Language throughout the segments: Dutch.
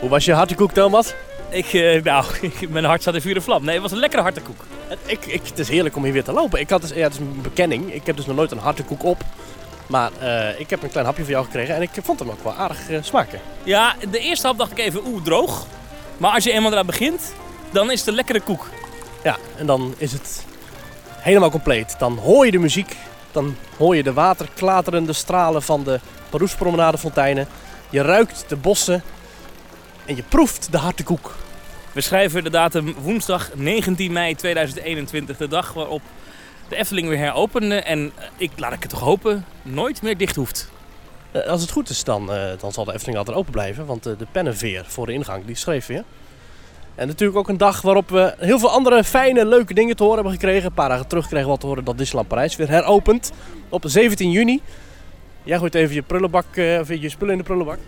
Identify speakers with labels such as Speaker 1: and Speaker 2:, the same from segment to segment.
Speaker 1: Hoe was je hartekoek, Thomas?
Speaker 2: Ik, eh, nou, ik- mijn hart staat in vuur en vlam. Nee, het was een lekkere harte koek.
Speaker 1: Ik, ik, het is heerlijk om hier weer te lopen. Ik had dus, ja, het is een bekenning. Ik heb dus nog nooit een hartekoek op. Maar eh, ik heb een klein hapje van jou gekregen en ik vond hem ook wel aardig eh, smaken.
Speaker 2: Ja, de eerste hap dacht ik even, oeh, droog. Maar als je eenmaal eraan begint, dan is het een lekkere koek.
Speaker 1: Ja, en dan is het helemaal compleet. Dan hoor je de muziek, dan hoor je de waterklaterende stralen van de Paroespromenadefonteinen. Je ruikt de bossen en je proeft de hartekoek.
Speaker 2: We schrijven de datum woensdag 19 mei 2021, de dag waarop de Efteling weer heropende. En eh, ik, laat ik het toch hopen, nooit meer dicht hoeft.
Speaker 1: Eh, Als het goed is, dan, eh, dan zal de Efteling altijd open blijven. Want eh, de pennenveer voor de ingang, die schreef weer. En natuurlijk ook een dag waarop we heel veel andere fijne, leuke dingen te horen hebben gekregen. Een paar dagen terug kregen we al te horen dat Disneyland Parijs weer heropent. Op 17 juni. Jij gooit even je prullenbak, eh, of je spullen in de prullenbak.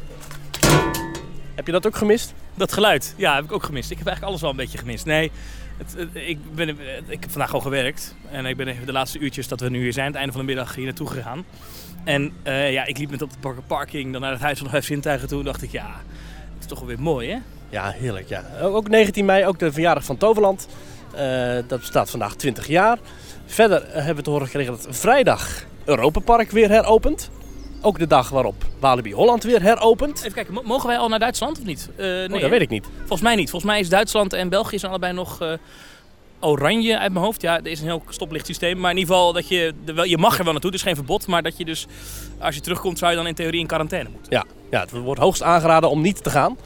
Speaker 1: Heb je dat ook gemist?
Speaker 2: Dat geluid, ja, heb ik ook gemist. Ik heb eigenlijk alles wel een beetje gemist. Nee, het, het- ik, ben, het- ik heb vandaag al gewerkt. En ik ben even de laatste uurtjes dat we nu hier zijn, het einde van de middag, hier naartoe gegaan. En eh, ja, ik liep met op de par- parking, dan naar het Huis van de Vijf Zintuigen toe. En dacht ik, ja, het is toch wel weer mooi, hè?
Speaker 1: Ja, heerlijk. Ja. Ook ook 19 mei, ook de verjaardag van Toverland. Eh, dat bestaat vandaag 20 jaar. Verder eh, hebben we te horen gekregen dat vrijdag Europa Park weer heropent. Ook de dag waarop Walibi Holland weer heropent.
Speaker 2: Even kijken, mo- mogen wij al naar Duitsland of niet? Eh, nee,
Speaker 1: Oh,
Speaker 2: hè?
Speaker 1: dat weet ik niet.
Speaker 2: Volgens mij niet. Volgens mij is Duitsland en België zijn allebei nog eh, oranje uit mijn hoofd. Ja, er is een heel stoplichtsysteem. Maar in ieder geval, dat je, er wel, je mag er wel naartoe, dus geen verbod. Maar dat je dus, als je terugkomt, zou je dan in theorie in quarantaine moeten.
Speaker 1: Ja, ja het wordt hoogst aangeraden om niet te gaan.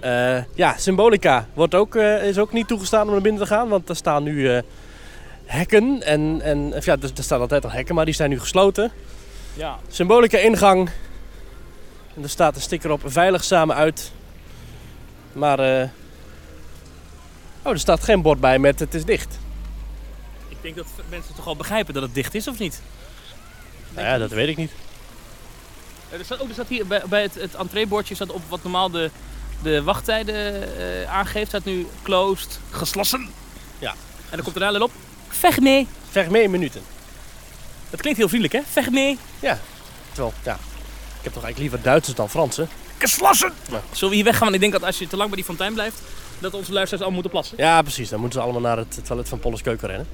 Speaker 1: Eh, ja, Symbolica wordt ook, eh, is ook niet toegestaan om naar binnen te gaan. Want er staan nu eh, hekken. En, en, of ja, er, er staan altijd al hekken, maar die zijn nu gesloten.
Speaker 2: Ja.
Speaker 1: Symbolica ingang. En er staat een sticker op veilig samen uit. Maar eh, oh, er staat geen bord bij met het is dicht.
Speaker 2: Ik denk dat mensen toch al begrijpen dat het dicht is, of niet?
Speaker 1: Nou ja, dat weet ik niet.
Speaker 2: Eh, Er staat, ook, er staat hier bij, bij het, het entreebordje staat op wat normaal de, de wachttijden eh, aangeeft. Staat nu closed, geslassen.
Speaker 1: Ja.
Speaker 2: En dan komt er dadelijk op, vecht mee.
Speaker 1: Ver mee in minuten.
Speaker 2: Dat klinkt heel vriendelijk, hè? Vecht mee.
Speaker 1: Terwijl, ja, ik heb toch eigenlijk liever Duitsers dan Fransen.
Speaker 2: Geslassen!
Speaker 1: Ja.
Speaker 2: Zullen we hier weggaan? Want ik denk dat als je te lang bij die fontein blijft, dat onze luisteraars al moeten plassen.
Speaker 1: Ja, precies. Dan moeten ze allemaal naar het toilet van Polles Keuken rennen.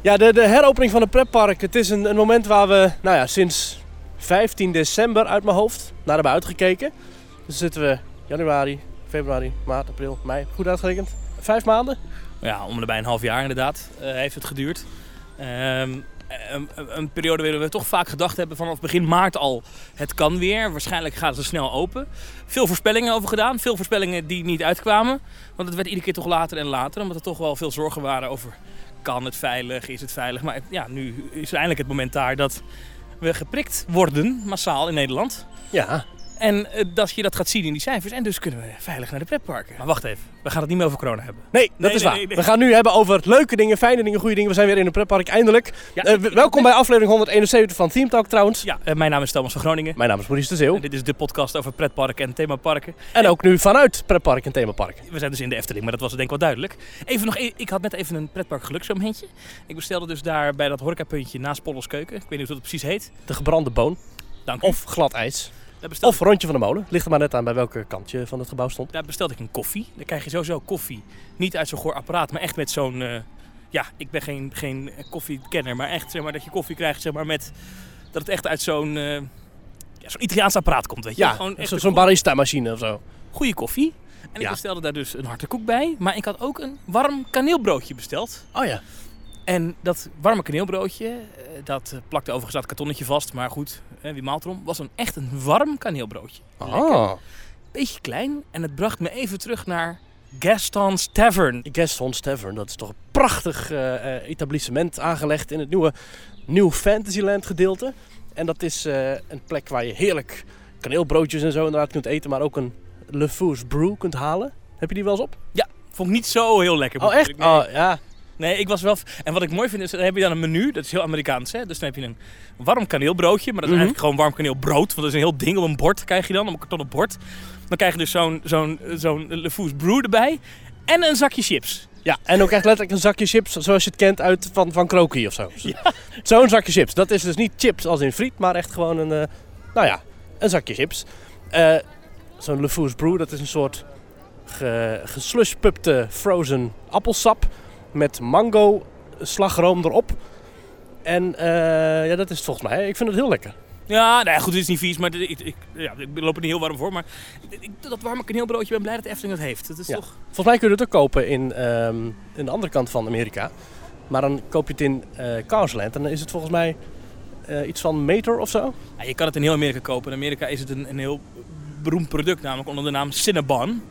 Speaker 1: Ja, de, de heropening van het pretpark. Het is een, een moment waar we, nou ja, sinds 15 december uit mijn hoofd naar hebben uitgekeken. Dus zitten we januari, februari, maart, april, mei. Goed uitgerekend. Vijf maanden.
Speaker 2: Ja, om erbij een half jaar inderdaad eh, heeft het geduurd. Ehm, een, een- een periode waarin we toch vaak gedacht hebben vanaf begin maart al, het kan weer. Waarschijnlijk gaat het snel open. Veel voorspellingen over gedaan, veel voorspellingen die niet uitkwamen. Want het werd iedere keer toch later en later, omdat er toch wel veel zorgen waren over kan het veilig, is het veilig. Maar ja, nu is eindelijk het moment daar dat we geprikt worden, massaal in Nederland.
Speaker 1: Ja,
Speaker 2: En eh, dat je dat gaat zien in die cijfers. En dus kunnen we veilig naar de pretparken. Maar wacht even, we gaan het niet meer over corona hebben.
Speaker 1: nee, dat
Speaker 2: Nee,
Speaker 1: is
Speaker 2: nee,
Speaker 1: waar.
Speaker 2: nee, nee.
Speaker 1: We gaan nu hebben over leuke dingen, fijne dingen, goede dingen. We zijn weer in een pretpark, eindelijk.
Speaker 2: Ja,
Speaker 1: Eh, welkom bij aflevering 171 van Team Talk trouwens.
Speaker 2: Ja, eh, mijn naam is Thomas van Groningen.
Speaker 1: Mijn naam is Maurice de Zeeuw.
Speaker 2: En dit is de podcast over pretparken en themaparken.
Speaker 1: En ook nu vanuit pretpark en themapark.
Speaker 2: We zijn dus in de Efteling, maar dat was denk ik wel duidelijk. Even nog, e- ik had net even een pretpark geluksmomentje. Ik bestelde dus daar bij dat horecapuntje naast Pollos Keuken. Ik weet niet hoe dat precies heet.
Speaker 1: De gebrande boon
Speaker 2: Dank u.
Speaker 1: of glad ijs.
Speaker 2: daar bestelde,
Speaker 1: Of rondje van de molen. Ligt er maar net aan bij welke kant je van het gebouw stond.
Speaker 2: daar bestelde ik een koffie. Dan krijg je sowieso koffie. Niet uit zo'n goor apparaat, maar echt met zo'n... eh, ja, ik ben geen, geen koffiekenner, maar echt zeg maar, dat je koffie krijgt zeg maar, met... Dat het echt uit zo'n... eh, ja, zo'n Italiaans apparaat komt, weet je.
Speaker 1: Ja,
Speaker 2: Gewoon echt
Speaker 1: zo-
Speaker 2: een
Speaker 1: zo'n barista-machine of zo.
Speaker 2: goede koffie. En ik
Speaker 1: Ja.
Speaker 2: bestelde daar dus een harde koek bij. Maar ik had ook een warm kaneelbroodje besteld.
Speaker 1: Oh ja.
Speaker 2: En dat warme kaneelbroodje, eh, dat eh, plakte overigens dat kartonnetje vast. Maar goed, eh, wie maalt erom, was een, echt een warm kaneelbroodje. Lekker.
Speaker 1: Ah.
Speaker 2: Beetje klein. En het bracht me even terug naar Gaston's Tavern.
Speaker 1: Gaston's Tavern, dat is toch een prachtig eh, eh, etablissement aangelegd in het nieuwe New Fantasyland gedeelte. En dat is eh, een plek waar je heerlijk kaneelbroodjes en zo inderdaad kunt eten. Maar ook een Le Fou's Brew kunt halen. Heb je die wel eens op?
Speaker 2: Vond ik niet zo heel lekker. moet
Speaker 1: Oh
Speaker 2: ik
Speaker 1: echt?
Speaker 2: eerlijk
Speaker 1: Oh ja.
Speaker 2: Nee, ik was wel. En wat ik mooi vind is, dan heb je dan een menu, dat is heel Amerikaans, hè? Dus dan heb je een warm kaneelbroodje, maar dat is
Speaker 1: Mhm.
Speaker 2: eigenlijk gewoon warm kaneelbrood, want dat is een heel ding op een bord krijg je dan, op een kartonnen bord. Dan krijg je dus zo'n zo'n zo'n Le Fou's Brew erbij en een zakje chips.
Speaker 1: ja. En ook echt letterlijk een zakje chips zoals je het kent uit van, van Kroki of zo. Zo'n zakje chips. Dat is dus niet chips als in friet, maar echt gewoon een, eh, nou ja, een zakje chips. Eh, zo'n LeFou's Brew. Dat is een soort ge, geslushpupte frozen appelsap met mango slagroom erop. En eh, ja, dat is het volgens mij. Ik vind het heel lekker.
Speaker 2: Ja, nou ja, goed, het is niet vies, maar dit- ik, ik, ja, ik loop er niet heel warm voor. Maar ik- ik- dat warm ik een heel broodje. Ik ben blij dat de Efteling dat heeft. Dat is
Speaker 1: Ja.
Speaker 2: toch...
Speaker 1: Volgens mij kun je het ook kopen in, ehm, in de andere kant van Amerika. Maar dan koop je het in eh Carsland. En dan is het volgens mij eh, iets van een meter of zo.
Speaker 2: Ja, je kan het in heel Amerika kopen. In Amerika is het een, een heel beroemd product, namelijk onder de naam Cinnabon.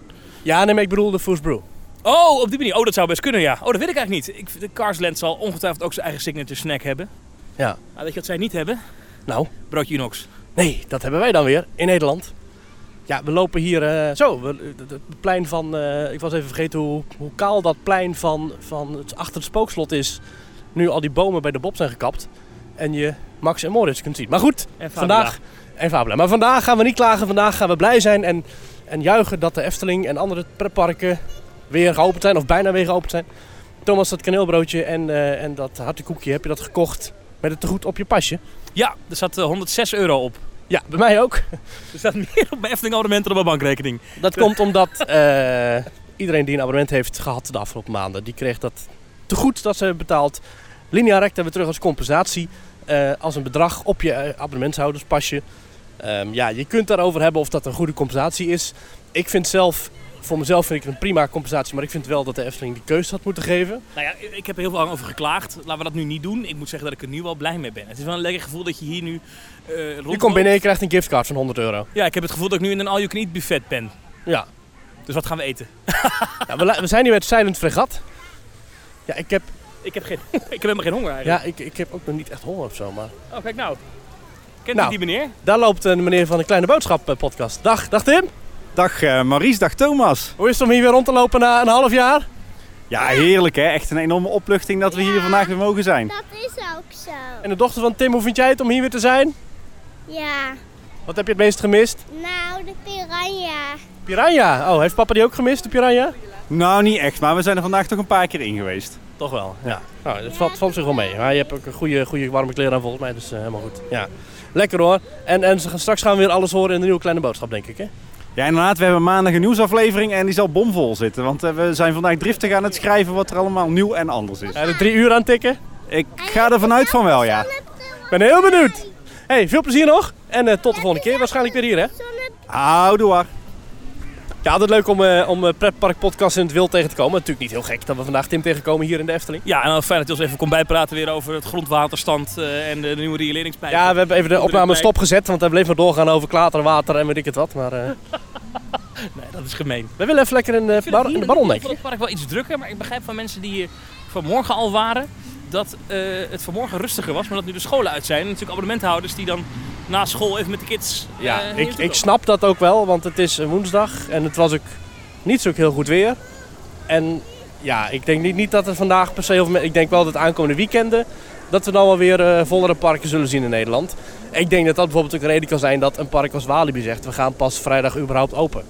Speaker 1: Ja, nee, maar ik bedoel de Foos Brew.
Speaker 2: Oh, op die manier. Oh, dat zou best kunnen, ja. Oh, dat weet ik eigenlijk niet. Ik, de Carsland zal ongetwijfeld ook zijn eigen signature snack hebben.
Speaker 1: Ja.
Speaker 2: Maar weet je wat zij niet hebben?
Speaker 1: Nou,
Speaker 2: Broodje Inox.
Speaker 1: nee, dat hebben wij dan weer in Nederland. Ja, we lopen hier eh, zo. we- het- het plein van. eh, ik was even vergeten hoe, hoe kaal dat plein van, van het, achter het spookslot is. Nu al die bomen bij de Bob zijn gekapt. En je Max en Moritz kunt zien. Maar goed,
Speaker 2: En Fabula.
Speaker 1: Vandaag en Fabula. Maar vandaag gaan we niet klagen. Vandaag gaan we blij zijn en, en juichen dat de Efteling en andere pretparken weer geopend zijn. Of bijna weer geopend zijn. Thomas, dat kaneelbroodje en, eh, en dat hartekoekje, heb je dat gekocht met het tegoed op je pasje?
Speaker 2: Ja, er zat eh, 106 euro op.
Speaker 1: Ja, bij mij ook.
Speaker 2: Er staat meer op mijn Efteling abonnement dan op mijn bankrekening.
Speaker 1: Dat komt omdat eh, iedereen die een abonnement heeft gehad de afgelopen maanden, die kreeg dat tegoed dat ze hebben betaald. Linea recta hebben we terug als compensatie eh, als een bedrag op je eh, abonnementshouderspasje. Ehm, ja, je kunt daarover hebben of dat een goede compensatie is. Ik vind zelf, voor mezelf vind ik het een prima compensatie, maar ik vind wel dat de Efteling die keuze had moeten geven.
Speaker 2: Nou ja, ik heb er heel veel over geklaagd. Laten we dat nu niet doen. Ik moet zeggen dat ik er nu wel blij mee ben. Het is wel een lekker gevoel dat je hier nu eh
Speaker 1: Je
Speaker 2: rondloopt.
Speaker 1: komt binnen en je krijgt een giftcard van 100 euro.
Speaker 2: Ja, ik heb het gevoel dat ik nu in een all-you-can-eat buffet ben.
Speaker 1: Ja.
Speaker 2: Dus wat gaan we eten?
Speaker 1: Ja, we, la- we zijn nu met Silent Fregat. Ja, ik heb,
Speaker 2: Ik heb, geen, ik heb helemaal geen honger eigenlijk.
Speaker 1: ja ik, ik heb ook nog niet echt honger of zo, maar...
Speaker 2: Oh, kijk nou. Kent
Speaker 1: Nou.
Speaker 2: u die meneer?
Speaker 1: Daar loopt een meneer van de Kleine Boodschap eh, podcast. Dag, dag Tim.
Speaker 3: Dag eh Maries, dag Thomas.
Speaker 1: Hoe is het om hier weer rond te lopen na een half jaar?
Speaker 3: Ja, heerlijk hè. Echt een enorme opluchting dat we hier vandaag weer mogen zijn.
Speaker 4: Dat is ook zo.
Speaker 1: En de dochter van Tim, hoe vind jij het om hier weer te zijn?
Speaker 4: Ja,
Speaker 1: Wat heb je het meest gemist?
Speaker 4: nou de piranha.
Speaker 1: Piranha. Oh, heeft papa die ook gemist, de piranha?
Speaker 3: Nou, niet echt, maar we zijn er vandaag toch een paar keer in geweest.
Speaker 1: Toch wel, ja. Nou, dat valt, valt zich wel mee. Maar je hebt ook een goede, goede warme kleren aan volgens mij, dus eh, helemaal goed. Ja, lekker hoor. En, en ze gaan- straks gaan we weer alles horen in de nieuwe Kleine Boodschap, denk ik hè?
Speaker 3: Ja, inderdaad, we hebben maandag een nieuwsaflevering en die zal bomvol zitten. Want eh, we zijn vandaag driftig aan het schrijven wat er allemaal nieuw en anders is.
Speaker 1: En de drie uur aan tikken.
Speaker 3: Ik ga er vanuit van wel, ja.
Speaker 1: Ik ben heel benieuwd. Hey, veel plezier nog. En eh, tot de volgende keer, waarschijnlijk weer hier hè?
Speaker 3: Houdoe.
Speaker 1: Ja, altijd leuk om, eh om eh, pretpark podcast in het wild tegen te komen. Natuurlijk niet heel gek dat we vandaag Tim tegenkomen hier in de Efteling.
Speaker 2: Ja, en dan fijn dat je ons even kon bijpraten weer over het grondwaterstand eh, en de nieuwe rioleringspijp.
Speaker 1: Ja, we hebben even de
Speaker 2: Onder de
Speaker 1: opname
Speaker 2: pijp.
Speaker 1: stopgezet, want we bleef maar doorgaan over klaterwater en weet ik het wat. Maar eh,
Speaker 2: Nee, dat is gemeen.
Speaker 1: we willen even lekker in de, bar, in de baron,
Speaker 2: Ik vond het park wel iets drukker, maar ik begrijp van mensen die hier vanmorgen al waren dat eh, het vanmorgen rustiger was, maar dat nu de scholen uit zijn. En natuurlijk abonnementhouders die dan na school even met de kids. eh,
Speaker 1: Ja,
Speaker 2: hier
Speaker 1: ik,
Speaker 2: naartoe
Speaker 1: ik
Speaker 2: komen.
Speaker 1: snap dat ook wel, want het is een woensdag en het was ook niet zo heel goed weer. En ja, ik denk niet, niet dat het vandaag per se... heel veel me- Ik denk wel dat aankomende weekenden dat we dan wel weer eh, vollere parken zullen zien in Nederland. Ik denk dat dat bijvoorbeeld ook een reden kan zijn dat een park als Walibi zegt... we gaan pas vrijdag überhaupt open.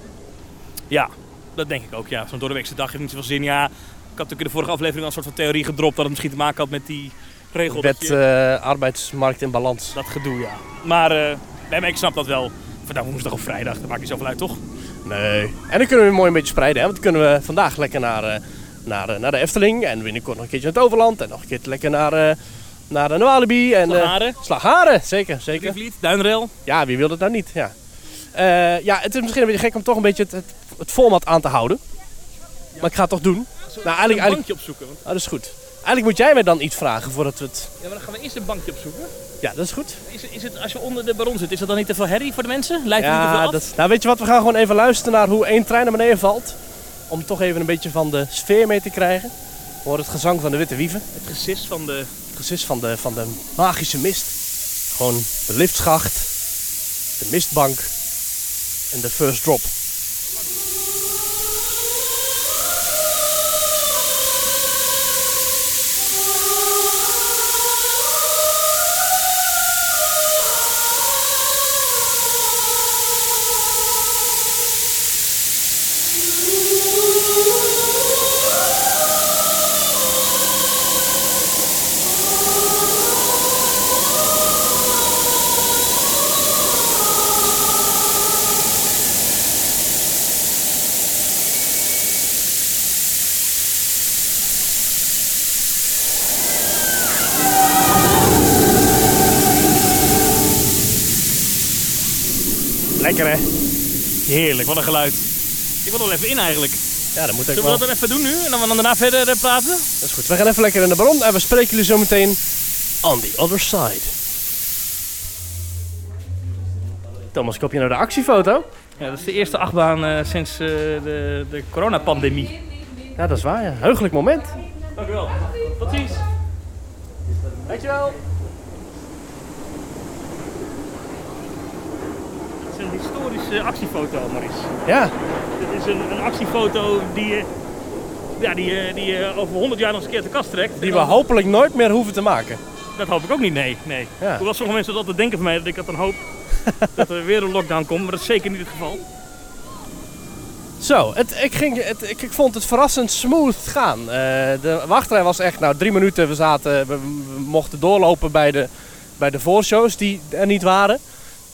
Speaker 2: Ja, dat denk ik ook. Ja, zo'n doordeweekse dag heeft niet zoveel zin. Ja, ik had ook in de vorige aflevering al een soort van theorie gedropt dat het misschien te maken had met die regel. dat
Speaker 1: Wet
Speaker 2: je-
Speaker 1: eh, arbeidsmarkt in balans.
Speaker 2: Dat gedoe, ja. Maar, eh, nee, maar ik snap dat wel. Vandaag woensdag of vrijdag, dat maakt niet zoveel uit, toch?
Speaker 1: Nee. En dan kunnen we weer mooi een beetje spreiden. Hè? Want dan kunnen we vandaag lekker naar, eh, naar, eh, naar de Efteling. En binnenkort nog een keertje naar het Overland. En nog een keertje lekker naar, eh, naar de Walibi. En, eh,
Speaker 2: Slagharen,
Speaker 1: Slagharen, zeker. zeker.
Speaker 2: Rivliet, Duinrail.
Speaker 1: Ja, wie wil dat nou niet? Ja. Eh, ja, het is misschien een beetje gek om toch een beetje het, het, het format aan te houden. Maar ik ga het toch doen. Nou, eigenlijk...
Speaker 2: een
Speaker 1: eigenlijk
Speaker 2: bankje opzoeken. want-
Speaker 1: oh, dat is goed. Eigenlijk moet jij mij dan iets vragen voordat we het...
Speaker 2: Ja, maar dan gaan we eerst een bankje opzoeken.
Speaker 1: Ja, dat is goed.
Speaker 2: Is, is het, als je onder de baron zit, is dat dan niet te veel herrie voor de mensen? Lijkt het niet te
Speaker 1: Ja,
Speaker 2: veel af?
Speaker 1: dat, nou weet je wat, we gaan gewoon even luisteren naar hoe één trein naar beneden valt. Om toch even een beetje van de sfeer mee te krijgen. We horen het gezang van de witte wieven.
Speaker 2: Het gesis van de...
Speaker 1: Het gesis van de, van de magische mist. Gewoon de liftschacht, de mistbank en de first drop.
Speaker 2: Lekker hè? Heerlijk, wat een geluid. Ik wil er even in eigenlijk.
Speaker 1: Ja, dat moet ik
Speaker 2: Zullen we
Speaker 1: wel.
Speaker 2: dat dan even doen nu en dan, dan daarna verder eh, praten?
Speaker 1: Dat is goed. We gaan even lekker in de bron en we spreken jullie zo meteen on the other side. Thomas, kop je nou de actiefoto?
Speaker 2: Ja, dat is de eerste achtbaan eh, sinds eh, de, de coronapandemie.
Speaker 1: Ja, dat is waar. Ja. Heugelijk moment.
Speaker 2: Dank u wel. Tot ziens.
Speaker 1: Dankjewel.
Speaker 2: Het is een historische actiefoto, Maurice.
Speaker 1: Ja,
Speaker 2: Dit is een, een actiefoto die je, ja, die, je- die je over 100 jaar nog eens een keer te kast trekt.
Speaker 1: die
Speaker 2: En
Speaker 1: we
Speaker 2: dan-
Speaker 1: hopelijk nooit meer hoeven te maken.
Speaker 2: Dat hoop ik ook niet, nee. nee.
Speaker 1: Ja.
Speaker 2: Hoewel sommige mensen dat altijd denken van mij, dat ik dat dan hoop dat er weer een lockdown komt. Maar dat is zeker niet het geval.
Speaker 1: Zo, het, ik, ging, het, ik, ik vond het verrassend smooth gaan. Eh, de wachtrij was echt, nou drie minuten, we, zaten, we, we mochten doorlopen bij de, bij de voorshows die er niet waren.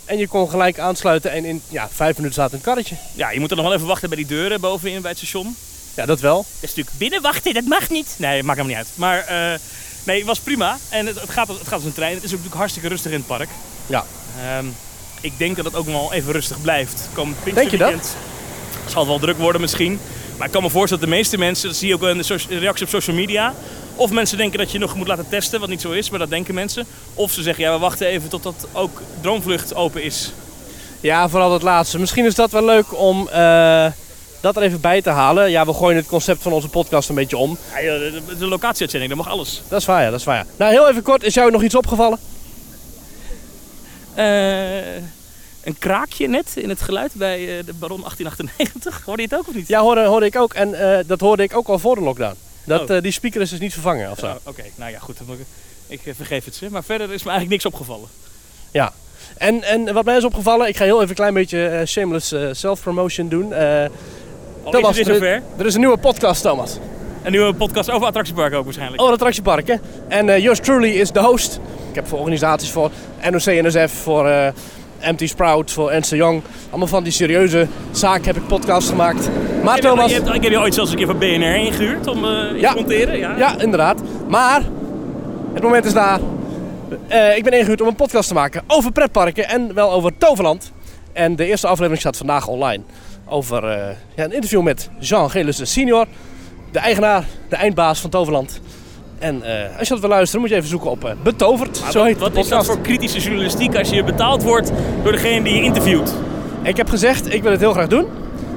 Speaker 1: En je kon gelijk aansluiten en in ja, vijf minuten zaten een karretje.
Speaker 2: Ja, je moet er nog wel even wachten bij die deuren bovenin bij het station.
Speaker 1: Ja, dat wel.
Speaker 2: Dat is natuurlijk binnen wachten, dat mag niet. Nee, maakt helemaal niet uit. Maar eh, nee, het was prima. En het, het, gaat, als- het gaat als een trein. Het is ook natuurlijk hartstikke rustig in het park.
Speaker 1: Ja.
Speaker 2: Ehm, ik denk dat het ook wel even rustig blijft. Komend
Speaker 1: Denk je dat?
Speaker 2: Pinksterweekend Zal het wel druk worden misschien. Maar ik kan me voorstellen dat de meeste mensen, dat zie je ook wel in de socia- reacties op social media. Of mensen denken dat je nog moet laten testen, wat niet zo is, maar dat denken mensen. Of ze zeggen, ja, we wachten even totdat ook Droomvlucht open is.
Speaker 1: Ja, vooral dat laatste. Misschien is dat wel leuk om eh, dat er even bij te halen. Ja, we gooien het concept van onze podcast een beetje om.
Speaker 2: Ja, joh, de, de- de locatieuitzending, dat mag alles.
Speaker 1: Dat is waar, ja, dat is waar. Ja. Nou, heel even kort, is jou nog iets opgevallen?
Speaker 2: Eh, een kraakje net in het geluid bij eh, de Baron 1898. Hoorde je het ook of niet?
Speaker 1: Ja, hoorde, hoorde ik ook. En eh, dat hoorde ik ook al voor de lockdown. Dat,
Speaker 2: Oh.
Speaker 1: eh, die speaker is dus niet vervangen of zo.
Speaker 2: Oh, Oké, nou ja, goed. dan moet ik- Ik eh, vergeef het ze. Maar verder is me eigenlijk niks opgevallen.
Speaker 1: En, en wat mij is opgevallen, ik ga heel even een klein beetje eh, shameless eh, self-promotion doen. Eh,
Speaker 2: Al
Speaker 1: Thomas,
Speaker 2: is het weer zover.
Speaker 1: er is een nieuwe podcast, Thomas.
Speaker 2: Een nieuwe podcast over attractieparken ook waarschijnlijk.
Speaker 1: Over het attractiepark, hè? En eh, yours truly is de host. Ik heb voor organisaties voor NOC, NSF, voor eh Empty Sprout, voor Ernst Young. Allemaal van die serieuze zaak heb ik podcast gemaakt. Maar
Speaker 2: Ik heb-
Speaker 1: Thomas...
Speaker 2: Je hebt, ik heb je ooit zelfs een keer van BNR ingehuurd om eh, iets
Speaker 1: Ja.
Speaker 2: te monteren. Ja.
Speaker 1: Ja, inderdaad. Maar het moment is daar. Eh, ik ben ingehuurd om een podcast te maken over pretparken en wel over Toverland. En de eerste aflevering staat vandaag online. Over eh, ja, een interview met Jean Gelissen senior. De eigenaar, de eindbaas van Toverland. En eh, als je dat wil luisteren moet je even zoeken op eh, Betoverd.
Speaker 2: Maar
Speaker 1: zo
Speaker 2: wat-
Speaker 1: heet de
Speaker 2: wat is
Speaker 1: podcast.
Speaker 2: dat voor kritische journalistiek als je betaald wordt door degene die je interviewt?
Speaker 1: Ik heb gezegd, ik wil het heel graag doen.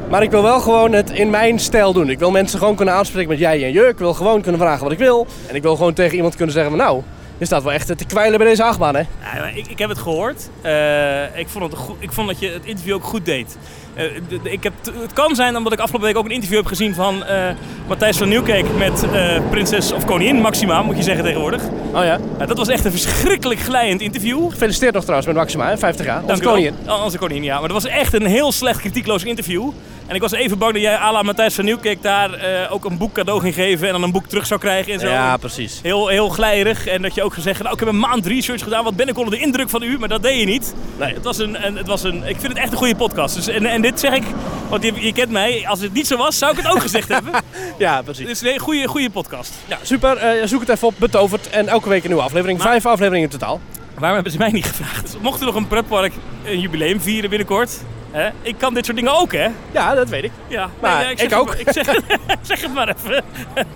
Speaker 1: Maar ik wil wel gewoon het in mijn stijl doen. Ik wil mensen gewoon kunnen aanspreken met jij en je. Ik wil gewoon kunnen vragen wat ik wil. En ik wil gewoon tegen iemand kunnen zeggen van nou, je staat wel echt te kwijlen bij deze achtbaan hè.
Speaker 2: Ja, maar ik, ik heb het gehoord. Eh, ik, vond het goed, ik vond dat je het interview ook goed deed. Eh, d- d- ik heb, t- het kan zijn omdat ik afgelopen week ook een interview heb gezien van eh, Matthijs van Nieuwkerk met eh, prinses of koningin Maxima, moet je zeggen tegenwoordig.
Speaker 1: Oh ja.
Speaker 2: Nou, dat was echt een verschrikkelijk glijend interview.
Speaker 1: Gefeliciteerd nog trouwens met Maxima, hè, 50 jaar. Onze
Speaker 2: Dank u wel.
Speaker 1: koningin.
Speaker 2: Oh, onze koningin, ja. Maar dat was echt een heel slecht kritiekloos interview. En ik was even bang dat jij à la Matthijs van Nieuwkerk daar eh, ook een boek cadeau ging geven en dan een boek terug zou krijgen en zo.
Speaker 1: precies.
Speaker 2: Heel, heel glijrig en dat je ook zou zeggen, nou ik heb een maand research gedaan, wat ben ik onder de indruk van u, maar dat deed je niet.
Speaker 1: Nee.
Speaker 2: Het was een, een- het was een, ik vind het echt een goede podcast. Dus, en, en dit zeg ik, want je, je kent mij, als het niet zo was, zou ik het ook gezegd hebben. Dus
Speaker 1: Ja, precies.
Speaker 2: Dit is een hele goede, goede podcast.
Speaker 1: Ja, super, eh, zoek het even op, betoverd. En elke week een nieuwe aflevering.
Speaker 2: Maar-
Speaker 1: Vijf afleveringen in totaal.
Speaker 2: Waarom hebben ze mij niet gevraagd? Dus Mocht er nog een pretpark een jubileum vieren binnenkort, hè? ik kan dit soort dingen ook hè.
Speaker 1: Ja, dat weet ik.
Speaker 2: Ja,
Speaker 1: Maar
Speaker 2: nee, nee, zeg
Speaker 1: ik ook.
Speaker 2: Het, ik zeg, ik zeg het maar even.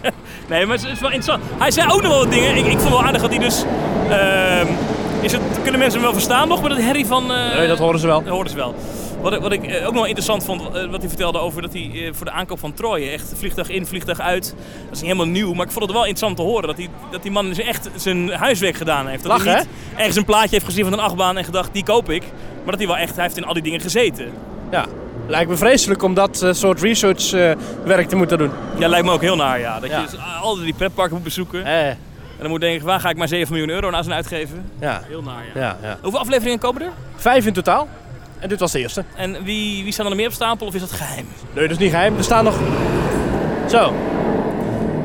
Speaker 2: nee, maar het is wel interessant. Hij zei ook nog wel wat dingen. Ik, ik vond wel aardig dat hij dus... ehm, is het, kunnen mensen hem wel verstaan nog? Maar dat herrie van... eh,
Speaker 1: Nee, dat horen ze wel.
Speaker 2: dat hoorden ze wel. Wat, ik- wat ik eh, ook nog wel interessant vond, eh, wat hij vertelde over dat hij eh, voor de aankoop van Troje echt vliegtuig in, vliegtuig uit. Dat is niet helemaal nieuw, maar ik vond het wel interessant te horen dat die, dat die man dus echt zijn huiswerk gedaan heeft. Dat
Speaker 1: Lachen,
Speaker 2: hij niet ergens een plaatje heeft gezien van een achtbaan en gedacht, die koop ik. Maar dat hij wel echt, hij heeft in al die dingen gezeten.
Speaker 1: Ja. Lijkt me vreselijk om dat eh, soort research eh, werk te moeten doen.
Speaker 2: Ja, lijkt me ook heel naar, ja. Dat
Speaker 1: Ja.
Speaker 2: je dus altijd die pretparken moet bezoeken.
Speaker 1: Eh,
Speaker 2: En dan moet je denken, waar ga ik maar 7 miljoen euro aan zijn uitgeven?
Speaker 1: ja.
Speaker 2: Heel naar, ja.
Speaker 1: Ja, ja.
Speaker 2: Hoeveel afleveringen komen er?
Speaker 1: Vijf in totaal. En dit was de eerste.
Speaker 2: En wie, wie staan er nog meer op stapel of is dat geheim?
Speaker 1: Nee, dat is niet geheim. Er staan nog. Zo.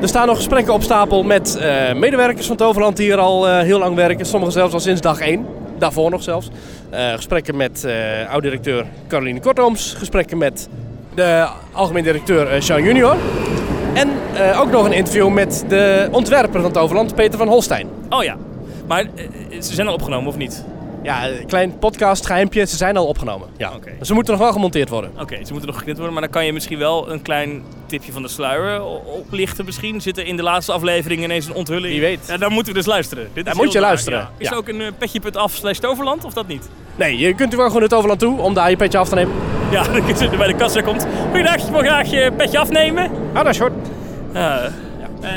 Speaker 1: Er staan nog gesprekken op stapel met eh, medewerkers van Toverland die hier al eh, heel lang werken. Sommigen zelfs al sinds dag 1. Daarvoor nog zelfs. Eh, gesprekken met eh oud-directeur Caroline Kortooms. Gesprekken met de algemeen directeur eh, Jean Junior. En eh, ook nog een interview met de ontwerper van Toverland, Peter van Holstein.
Speaker 2: eh, Oh ja. Maar eh, ze zijn al opgenomen of niet?
Speaker 1: Ja, eh, klein podcast, geheimpje. Ze zijn al opgenomen. Ja.
Speaker 2: Oké.
Speaker 1: Ze moeten nog wel gemonteerd worden.
Speaker 2: Oké, ze moeten nog geknipt worden, maar dan kan je misschien wel een klein tipje van de sluier o- oplichten. Misschien zit er in de laatste aflevering ineens een onthulling.
Speaker 1: Wie weet.
Speaker 2: Ja, dan moeten we dus luisteren. Dit
Speaker 1: Dan
Speaker 2: is
Speaker 1: moet
Speaker 2: heel
Speaker 1: je
Speaker 2: raar,
Speaker 1: luisteren,
Speaker 2: ja. Is
Speaker 1: ja.
Speaker 2: er ook een eh, petje.af slash toverland of dat niet?
Speaker 1: Nee, je kunt er wel gewoon het overland toe om daar je petje af te nemen.
Speaker 2: Ja, dan kun je bij de kassa komt. Goeiedag, ik wil graag je petje afnemen.
Speaker 1: Ah, dat is goed.
Speaker 2: Eh,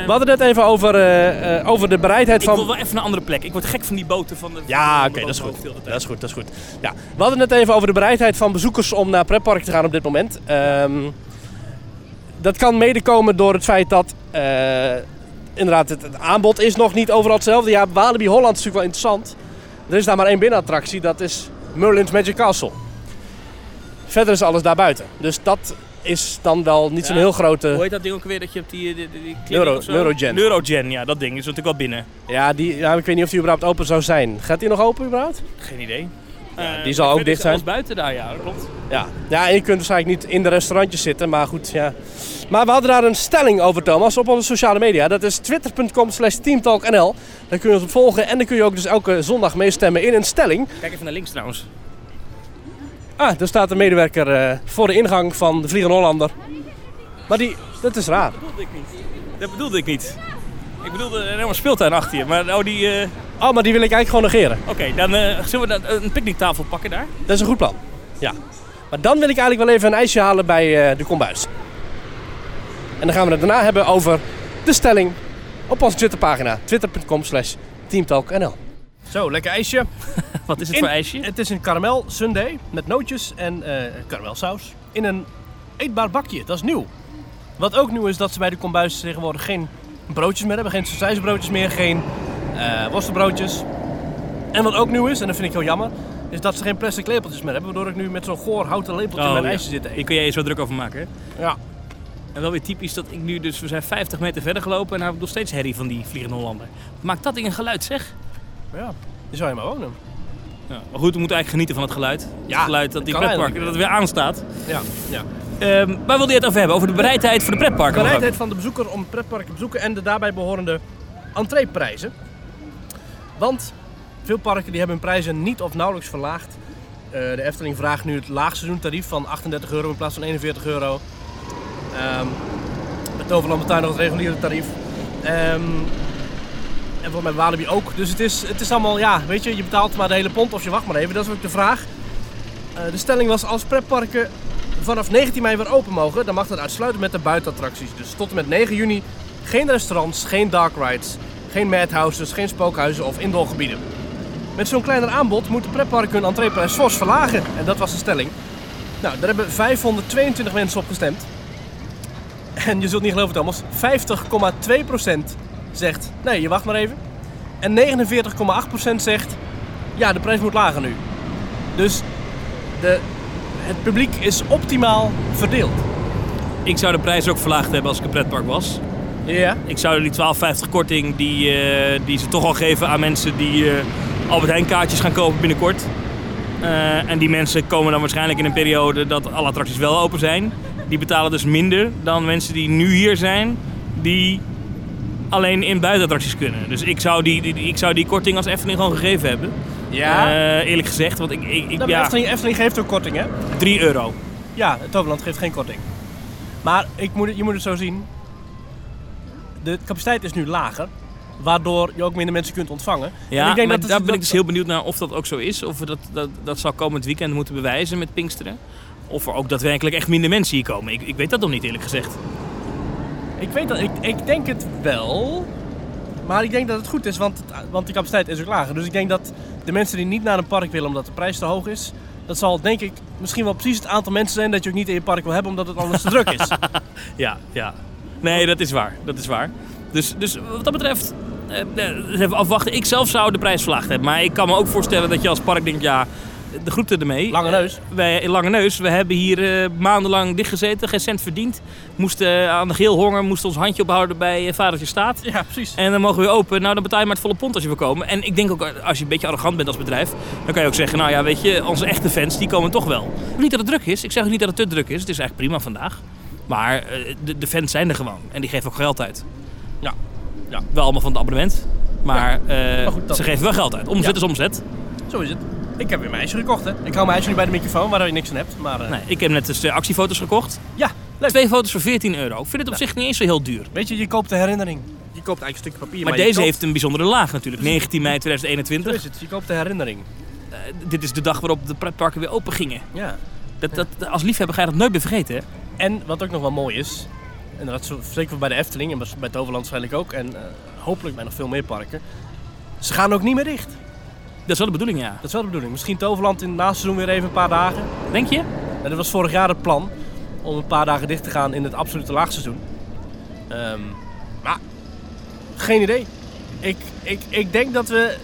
Speaker 1: We hadden het net even over, eh, eh, over de bereidheid
Speaker 2: ik
Speaker 1: van...
Speaker 2: wil wel even naar een andere plek. Ik word gek van die boten van de.
Speaker 1: Ja,
Speaker 2: van
Speaker 1: oké,
Speaker 2: de
Speaker 1: dat is goed.
Speaker 2: bootmobiel de tijd.
Speaker 1: Dat is goed, dat is goed. Ja, we hadden het even over de bereidheid van bezoekers om naar pretpark te gaan op dit moment. Ehm, dat kan mede komen door het feit dat eh, inderdaad het, het aanbod is nog niet overal hetzelfde. Ja, Walibi Holland is natuurlijk wel interessant. Er is daar maar één binnenattractie, dat is Merlin's Magic Castle. Verder is alles daarbuiten. Dus dat is dan wel niet zo'n
Speaker 2: Ja,
Speaker 1: heel
Speaker 2: Hoe
Speaker 1: grote...
Speaker 2: heet dat ding ook weer dat je op die. die, die, die klim
Speaker 1: eh, Neuro-
Speaker 2: of zo?
Speaker 1: Neurogen.
Speaker 2: Neurogen, ja, dat ding is natuurlijk wel binnen.
Speaker 1: Ja, die, ja, ik weet niet of die überhaupt open zou zijn. Gaat die nog open überhaupt?
Speaker 2: Geen idee.
Speaker 1: die
Speaker 2: Eh,
Speaker 1: zal ook
Speaker 2: verder
Speaker 1: dicht
Speaker 2: is
Speaker 1: zijn.
Speaker 2: alles buiten daar, ja, dat klopt.
Speaker 1: Ja. ja, en je kunt waarschijnlijk niet in de restaurantjes zitten, maar goed, ja. Maar we hadden daar een stelling over, Thomas, op onze sociale media. Dat is twitter.com slash teamtalknl. Daar kun je ons op volgen en dan kun je ook dus elke zondag meestemmen in een stelling.
Speaker 2: Kijk even naar links trouwens.
Speaker 1: Ah, daar staat een medewerker eh, voor de ingang van de Vliegende Hollander. Maar die, dat is raar.
Speaker 2: Dat bedoelde ik niet. Dat bedoelde ik niet. Ik bedoelde een helemaal speeltuin achter je. Maar nou, die. eh,
Speaker 1: Oh, maar die wil ik eigenlijk gewoon negeren.
Speaker 2: Oké, dan eh, zullen we dan een picknicktafel pakken daar.
Speaker 1: Dat is een goed plan. Ja. Maar dan wil ik eigenlijk wel even een ijsje halen bij eh, de kombuis. En dan gaan we het daarna hebben over de stelling op onze Twitterpagina. Twitter.com slash teamtalknl. Zo, lekker ijsje.
Speaker 2: Wat is het
Speaker 1: In-
Speaker 2: voor ijsje?
Speaker 1: Het is een karamel sundae met nootjes en eh, karamelsaus. In een eetbaar bakje, dat is nieuw. Wat ook nieuw is dat ze bij de kombuis tegenwoordig geen broodjes meer hebben. Geen sausijsbroodjes meer, geen eh, worstelbroodjes. En wat ook nieuw is, en dat vind ik heel jammer, is dat ze geen plastic lepeltjes meer hebben. Waardoor ik nu met zo'n goor houten lepeltje mijn
Speaker 2: Oh, ja.
Speaker 1: ijsje zit te eten.
Speaker 2: Hier kun jij je zo druk over maken. hè?
Speaker 1: Ja.
Speaker 2: En wel weer typisch dat ik nu dus, we zijn 50 meter verder gelopen en daar heb ik nog steeds herrie van die vliegende Hollander. Maakt dat ding een geluid zeg?
Speaker 1: ja, die zou je maar wonen.
Speaker 2: Ja, maar goed, we moeten eigenlijk genieten van het geluid.
Speaker 1: Ja,
Speaker 2: het geluid dat die
Speaker 1: kan
Speaker 2: pretpark dat
Speaker 1: eigenlijk.
Speaker 2: het weer aanstaat.
Speaker 1: Ja, ja.
Speaker 2: Ehm waar wilde je het over hebben? Over de bereidheid voor de pretparken?
Speaker 1: De bereidheid van de bezoeker om het pretpark te bezoeken en de daarbij behorende entreeprijzen. Want veel parken die hebben hun prijzen niet of nauwelijks verlaagd. Eh, de Efteling vraagt nu het laagseizoentarief van 38 euro in plaats van 41 euro. Ehm het Toverland betaalt nog het reguliere tarief. Ehm, en volgens mij Walibi ook. Dus het is, het is allemaal, ja, weet je, je betaalt maar de hele pond of je wacht maar even. Dat is ook de vraag. Eh, de stelling was als pretparken vanaf 19 mei weer open mogen, dan mag dat uitsluitend met de buitenattracties. Dus tot en met 9 juni geen restaurants, geen dark rides, geen madhouses, geen spookhuizen of indoorgebieden. Met zo'n kleiner aanbod moeten pretparken hun entreeprijs fors verlagen. En dat was de stelling. Nou, daar hebben 522 mensen op gestemd. En je zult niet geloven Thomas, 50,2% zegt nee, je wacht maar even. En 49,8% zegt ja, de prijs moet lager nu. Dus de, het publiek is optimaal verdeeld.
Speaker 2: Ik zou de prijs ook verlaagd hebben als ik een pretpark was.
Speaker 1: Ja.
Speaker 2: Ik zou die 12,50 korting die, eh, die ze toch al geven aan mensen die eh Albert Heijn kaartjes gaan kopen binnenkort. Eh, en die mensen komen dan waarschijnlijk in een periode dat alle attracties wel open zijn. Die betalen dus minder dan mensen die nu hier zijn, die alleen in buitenattracties kunnen. Dus ik zou die, die- die- ik zou die korting als Efteling gewoon gegeven hebben. Eh, eerlijk gezegd, want ik, ik, ik-
Speaker 1: Nou, maar
Speaker 2: ja,
Speaker 1: Efteling, Efteling geeft ook korting, hè?
Speaker 2: 3 euro.
Speaker 1: Ja, het Toverland geeft geen korting. Maar ik moet, het- je moet het zo zien. De capaciteit is nu lager, waardoor je ook minder mensen kunt ontvangen.
Speaker 2: Ja,
Speaker 1: En ik denk
Speaker 2: maar
Speaker 1: dat het-
Speaker 2: daar ben
Speaker 1: dat-
Speaker 2: ik dus heel benieuwd naar of dat ook zo is. Of we dat, dat, dat zal komend weekend moeten bewijzen met Pinksteren. Of er ook daadwerkelijk echt minder mensen hier komen. Ik, ik weet dat nog niet eerlijk gezegd.
Speaker 1: Ik weet dat, ik, ik denk het wel. Maar ik denk dat het goed is, want, het- want de capaciteit is ook lager. Dus ik denk dat de mensen die niet naar een park willen omdat de prijs te hoog is, dat zal denk ik misschien wel precies het aantal mensen zijn dat je ook niet in je park wil hebben omdat het anders te druk is.
Speaker 2: Ja, ja. Nee, dat is waar. Dat is waar. Dus, dus wat dat betreft, eh, eh, dus even afwachten. Ik zelf zou de prijs verlaagd hebben. Maar ik kan me ook voorstellen dat je als park denkt, ja, de groeten ermee.
Speaker 1: Lange neus.
Speaker 2: Wij in Lange Neus, we hebben hier eh, maandenlang dichtgezeten, geen cent verdiend. Moesten eh, aan de geel honger, moesten ons handje ophouden bij eh, vadertje staat.
Speaker 1: Ja, precies.
Speaker 2: En dan mogen we weer open. Nou, dan betaal je maar het volle pond als je wil komen. En ik denk ook, als je een beetje arrogant bent als bedrijf, dan kan je ook zeggen, nou ja, weet je, onze echte fans, die komen toch wel. Niet dat het druk is. Ik zeg ook niet dat het te druk is. Het is eigenlijk prima vandaag. Maar eh, de, de fans zijn er gewoon. En die geven ook geld uit. Ja. ja. Wel allemaal van het abonnement. Maar, eh,
Speaker 1: maar goed, dat-
Speaker 2: ze geven wel geld uit. Omzet
Speaker 1: Ja.
Speaker 2: is omzet.
Speaker 1: Zo is het. Ik heb weer mijn ijsje gekocht, hè. Ik hou mijn ijsje nu bij de microfoon, waar je niks aan hebt. Maar eh,
Speaker 2: Nee, ik heb net dus de actiefoto's gekocht.
Speaker 1: ja, leuk.
Speaker 2: Twee foto's voor 14 euro. Ik vind het op zich niet eens zo heel duur.
Speaker 1: Weet je, je koopt de herinnering. Je koopt eigenlijk een stukje papier.
Speaker 2: Maar,
Speaker 1: je
Speaker 2: deze
Speaker 1: koopt-
Speaker 2: heeft een bijzondere laag natuurlijk. 19 mei
Speaker 1: Zo
Speaker 2: 2021.
Speaker 1: is het. Je koopt de herinnering.
Speaker 2: Eh, dit is de dag waarop de pretparken weer open gingen.
Speaker 1: Ja.
Speaker 2: Dat, dat, als liefhebber ga je dat nooit meer vergeten. Hè?
Speaker 1: En wat ook nog wel mooi is, en dat is zo- zeker bij de Efteling en bij Toverland waarschijnlijk ook, en eh, hopelijk bij nog veel meer parken, ze gaan ook niet meer dicht.
Speaker 2: Dat is wel de bedoeling, ja.
Speaker 1: Dat is wel de bedoeling. Misschien Toverland in het naseizoen weer even een paar dagen.
Speaker 2: Denk je?
Speaker 1: En dat was vorig jaar het plan om een paar dagen dicht te gaan in het absolute laagseizoen. Ehm, maar geen idee. Ik, ik, ik denk dat we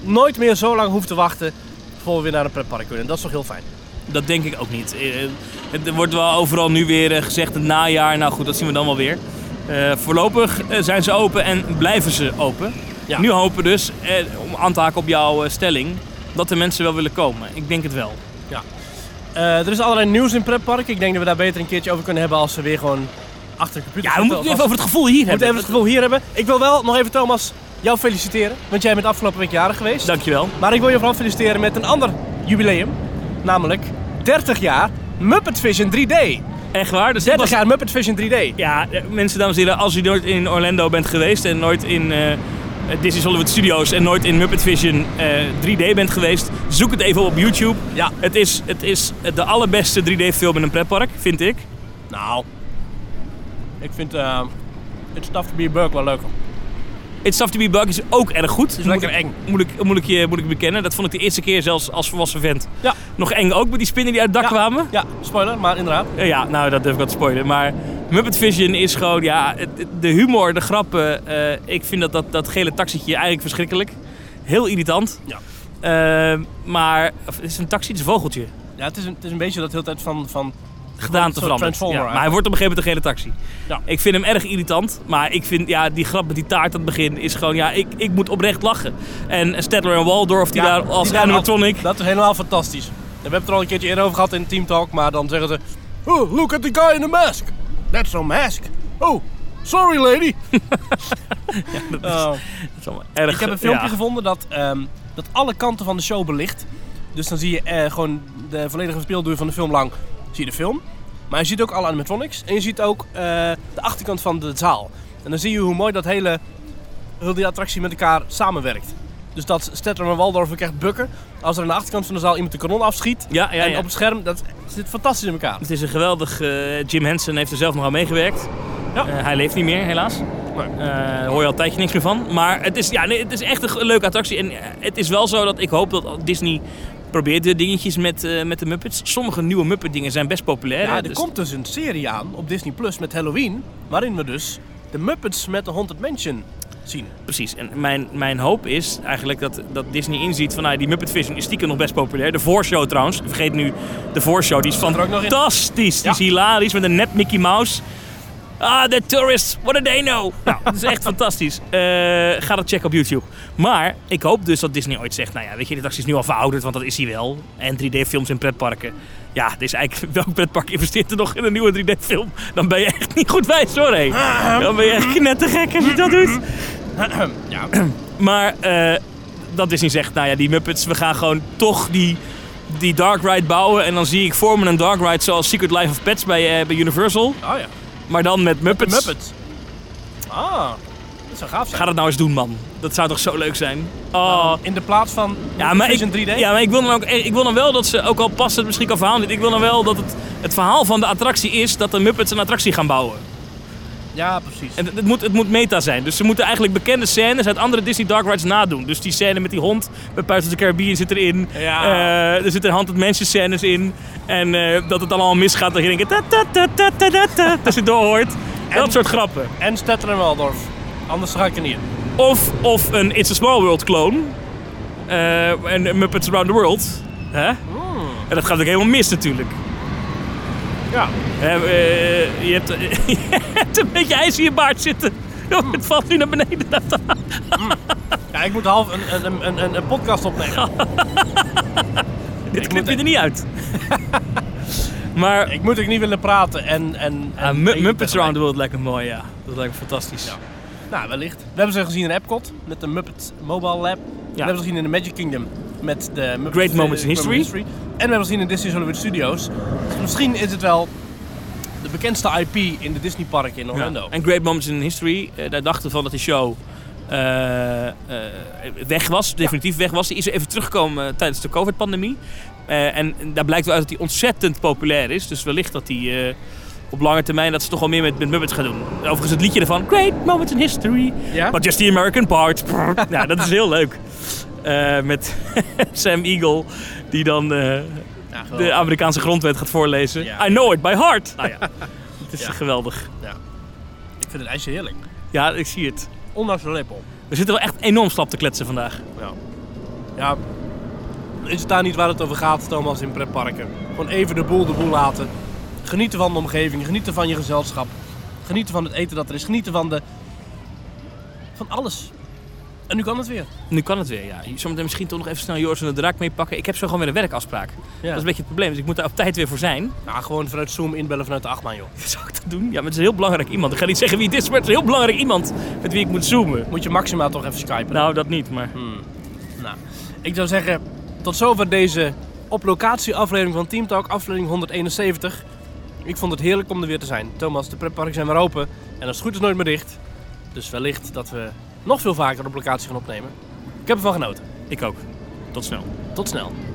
Speaker 1: nooit meer zo lang hoeven te wachten voor we weer naar een pretpark kunnen. En dat is toch heel fijn.
Speaker 2: Dat denk ik ook niet. Eh, Het wordt wel overal nu weer eh, gezegd het najaar. Nou goed, dat zien we dan wel weer. Eh, voorlopig eh, zijn ze open en blijven ze open.
Speaker 1: Ja.
Speaker 2: Nu hopen dus, eh, om aan te haken op jouw eh, stelling, dat de mensen wel willen komen. Ik denk het wel.
Speaker 1: Eh, er is allerlei nieuws in pretpark. Ik denk dat we daar beter een keertje over kunnen hebben als we weer gewoon achter de computer
Speaker 2: Ja, we
Speaker 1: zitten.
Speaker 2: moeten het
Speaker 1: Of
Speaker 2: even
Speaker 1: als-
Speaker 2: over het gevoel hier
Speaker 1: we moeten
Speaker 2: hebben.
Speaker 1: even het gevoel hier hebben. Ik wil wel nog even Thomas jou feliciteren, want jij bent afgelopen week jarig geweest.
Speaker 2: Dankjewel.
Speaker 1: Maar ik wil je vooral feliciteren met een ander jubileum, namelijk 30 jaar Muppet Vision 3D.
Speaker 2: Echt waar? Dus dit
Speaker 1: 30
Speaker 2: was-
Speaker 1: jaar Muppet Vision 3D.
Speaker 2: Ja, eh, mensen, dames en heren, als u nooit in Orlando bent geweest en nooit in eh, eh, Disney Hollywood Studios en nooit in Muppet Vision eh, 3D bent geweest, zoek het even op YouTube.
Speaker 1: Ja.
Speaker 2: Het is, het is de allerbeste 3D-film in een pretpark, vind ik.
Speaker 1: Nou, ik vind eh, het It's Tough to be a Burg wel leuker.
Speaker 2: It's Tough to be Bug is ook erg goed. Dus
Speaker 1: lekker
Speaker 2: moet ik-
Speaker 1: eng.
Speaker 2: Moet ik, moet, ik je, moet ik bekennen. Dat vond ik de eerste keer zelfs als volwassen vent.
Speaker 1: Ja.
Speaker 2: Nog eng ook met die spinnen die uit het dak
Speaker 1: Ja.
Speaker 2: kwamen.
Speaker 1: Ja, spoiler, maar inderdaad.
Speaker 2: Eh, Ja, nou dat durf ik wel te spoilen. Maar Muppet Vision is gewoon, ja, het- het- de humor, de grappen. eh, ik vind dat, dat, dat gele taxietje eigenlijk verschrikkelijk. Heel irritant.
Speaker 1: Ja.
Speaker 2: Eh, maar of, het is een taxi, het is een vogeltje.
Speaker 1: Ja, het is een, het is een beetje dat heel de tijd van, van
Speaker 2: Gedaan te
Speaker 1: Een soort
Speaker 2: veranderen.
Speaker 1: Transformer
Speaker 2: Ja, maar hij wordt op een gegeven moment een gele taxi.
Speaker 1: Ja.
Speaker 2: Ik vind hem erg irritant. Maar ik vind, ja, die grap met die taart aan het begin is gewoon, ja, ik, ik moet oprecht lachen. En Stedler en Waldorf, die
Speaker 1: Ja,
Speaker 2: daar als
Speaker 1: daar
Speaker 2: animatronic...
Speaker 1: al- Dat is helemaal fantastisch. We hebben het er al een keertje eerder over gehad in Team Talk, maar dan zeggen ze... Oh, look at the guy in the mask. That's no mask. Oh, sorry lady.
Speaker 2: dat is-
Speaker 1: Oh.
Speaker 2: dat is allemaal erg,
Speaker 1: Ik heb een filmpje
Speaker 2: ja.
Speaker 1: gevonden dat, ehm, dat alle kanten van de show belicht. Dus dan zie je eh, gewoon de volledige speelduur van de film lang. Zie je de film. Maar je ziet ook alle animatronics. En je ziet ook eh, de achterkant van de zaal. En dan zie je hoe mooi dat hele, heel die attractie met elkaar samenwerkt. Dus dat Stetter en Waldorf ook echt bukken. Als er aan de achterkant van de zaal iemand de kanon afschiet.
Speaker 2: Ja, ja,
Speaker 1: En
Speaker 2: ja.
Speaker 1: op het scherm, dat zit fantastisch in elkaar.
Speaker 2: Het is een geweldig. eh, Jim Henson heeft er zelf nog aan meegewerkt.
Speaker 1: Ja.
Speaker 2: Eh, hij leeft niet meer, helaas.
Speaker 1: Nee.
Speaker 2: Eh, hoor je al een tijdje niks meer van. Maar het is, ja, nee, het is echt een ge- leuke attractie. En eh, het is wel zo dat ik hoop dat Disney probeert de dingetjes met, eh, met de Muppets. Sommige nieuwe Muppet dingen zijn best populair.
Speaker 1: Ja,
Speaker 2: hè,
Speaker 1: er
Speaker 2: dus-
Speaker 1: komt dus een serie aan op Disney Plus met Halloween. Waarin we dus de Muppets met de Haunted Mansion zien.
Speaker 2: Precies. En mijn, mijn hoop is eigenlijk dat, dat Disney inziet van nou, die Muppet Vision is stiekem nog best populair. De voorshow trouwens. Ik Vergeet nu de voorshow. Die is
Speaker 1: er ook nog in.
Speaker 2: fantastisch. Die is
Speaker 1: Ja.
Speaker 2: hilarisch met een nep Mickey Mouse. Ah, the tourists. What do they know? Nou, dat is echt fantastisch. Eh, ga dat checken op YouTube. Maar ik hoop dus dat Disney ooit zegt, nou ja, weet je, de taxi is nu al verouderd, want dat is hij wel. En 3D-films in pretparken. Ja, dit is eigenlijk, welk pretpark investeert er nog in een nieuwe 3D-film? Dan ben je echt niet goed wijs, hoor. hé.
Speaker 1: Ah.
Speaker 2: Dan ben je echt knettergek als je dat doet.
Speaker 1: Ja.
Speaker 2: Maar eh, dat Disney zegt, nou ja, die Muppets, we gaan gewoon toch die, die Dark Ride bouwen. En dan zie ik voor me een Dark Ride zoals Secret Life of Pets bij, eh, bij Universal.
Speaker 1: Oh ja.
Speaker 2: Maar dan met Muppets.
Speaker 1: Muppets. Ah, dat zou gaaf zijn.
Speaker 2: Ga dat nou eens doen, man. Dat zou toch zo leuk zijn? Oh.
Speaker 1: In de plaats van
Speaker 2: Ja maar, ik,
Speaker 1: Vision 3D?
Speaker 2: ja, maar ik wil dan ook eh, ik wil dan wel dat ze, ook al past het misschien qua verhaal niet, ik wil dan wel dat het, het verhaal van de attractie is dat de Muppets een attractie gaan bouwen.
Speaker 1: Ja, precies.
Speaker 2: En het, het moet, het moet meta zijn. Dus ze moeten eigenlijk bekende scènes uit andere Disney Dark Rides nadoen. Dus die scène met die hond bij Pirates of the Caribbean zit erin.
Speaker 1: Ja.
Speaker 2: Eh, er zitten Haunted Mansion scènes in. En eh, dat het dan allemaal misgaat. Dat je denkt... Ta, ta, ta, ta, ta, ta, ta, dat je doorhoort. Dat soort grappen.
Speaker 1: En Stetter en Waldorf. Anders ga ik er niet in.
Speaker 2: Of, of een It's a Small World clone. Eh, en Muppets Around the World. Hè? En dat gaat ook helemaal mis natuurlijk.
Speaker 1: Ja.
Speaker 2: Hè, eh, je, hebt, je hebt een beetje ijs in je baard zitten. Joh, het valt nu naar beneden.
Speaker 1: Ja, ik moet half een, een, een, een, een podcast opnemen.
Speaker 2: Dit
Speaker 1: Ik
Speaker 2: knip
Speaker 1: moet
Speaker 2: je er niet uit. maar
Speaker 1: ik moet ook niet willen praten en... en, en
Speaker 2: ah, Mu-
Speaker 1: Even tegelijk.
Speaker 2: Muppets Around the World lijkt me mooi, ja. Dat lijkt me fantastisch.
Speaker 1: Ja. Nou, wellicht. We hebben ze gezien in Epcot. Met de Muppet Mobile Lab. We hebben ze gezien in de Magic Kingdom. met de Muppet-
Speaker 2: Great Moments in
Speaker 1: eh,
Speaker 2: History.
Speaker 1: En we hebben gezien in Disney's Hollywood Studios. Dus misschien is het wel de bekendste IP in de Disney park in Orlando.
Speaker 2: En Great Moments in History, eh, daar dachten we van dat die show eh, eh, weg was, definitief weg was. Die is even teruggekomen eh, tijdens de COVID-pandemie. Eh, en daar blijkt wel uit dat die ontzettend populair is. Dus wellicht dat die eh, op lange termijn dat ze toch wel meer met, met Muppets gaan doen. Overigens het liedje ervan, Great Moments in History,
Speaker 1: Ja?
Speaker 2: but just the American part. nou, dat is heel leuk. Eh, met Sam Eagle, die dan eh,
Speaker 1: Ja,
Speaker 2: de
Speaker 1: geweldig.
Speaker 2: Amerikaanse grondwet gaat voorlezen.
Speaker 1: Oh. Ja. Ah,
Speaker 2: I know it by heart. Nou ja, het is
Speaker 1: Ja.
Speaker 2: geweldig.
Speaker 1: Ik vind het ijsje heerlijk.
Speaker 2: Ja, ik zie het.
Speaker 1: Ondanks de lepel.
Speaker 2: We zitten wel echt enorm slap te kletsen vandaag.
Speaker 1: Ja, is het daar niet waar het over gaat, Thomas, in pretparken? Gewoon even de boel de boel laten. Genieten van de omgeving, genieten van je gezelschap. Genieten van het eten dat er is, genieten van de... Van alles. En nu kan het weer.
Speaker 2: Nu kan het weer, ja. Zometeen misschien toch nog even snel Joris en de Draak meepakken. Ik heb zo gewoon weer een werkafspraak. Dat is een beetje het probleem, dus ik moet daar op tijd weer voor zijn.
Speaker 1: Nou, gewoon vanuit Zoom inbellen vanuit de achtbaan, joh.
Speaker 2: Zou ik dat doen? Ja, maar het is een heel belangrijk iemand. Ik ga niet zeggen wie het is, maar het is een heel belangrijk iemand met wie ik moet zoomen.
Speaker 1: Moet je maximaal toch even skypen.
Speaker 2: Nou, dat niet, maar...
Speaker 1: Hmm. Nou, ik zou zeggen, tot zover deze op locatie aflevering van Team Talk, aflevering 171. Ik vond het heerlijk om er weer te zijn. Thomas, de pretparken zijn weer open en als het goed is nooit meer dicht. Dus wellicht dat we nog veel vaker op locatie gaan opnemen. Ik heb ervan genoten.
Speaker 2: Ik ook. Tot snel.
Speaker 1: Tot snel.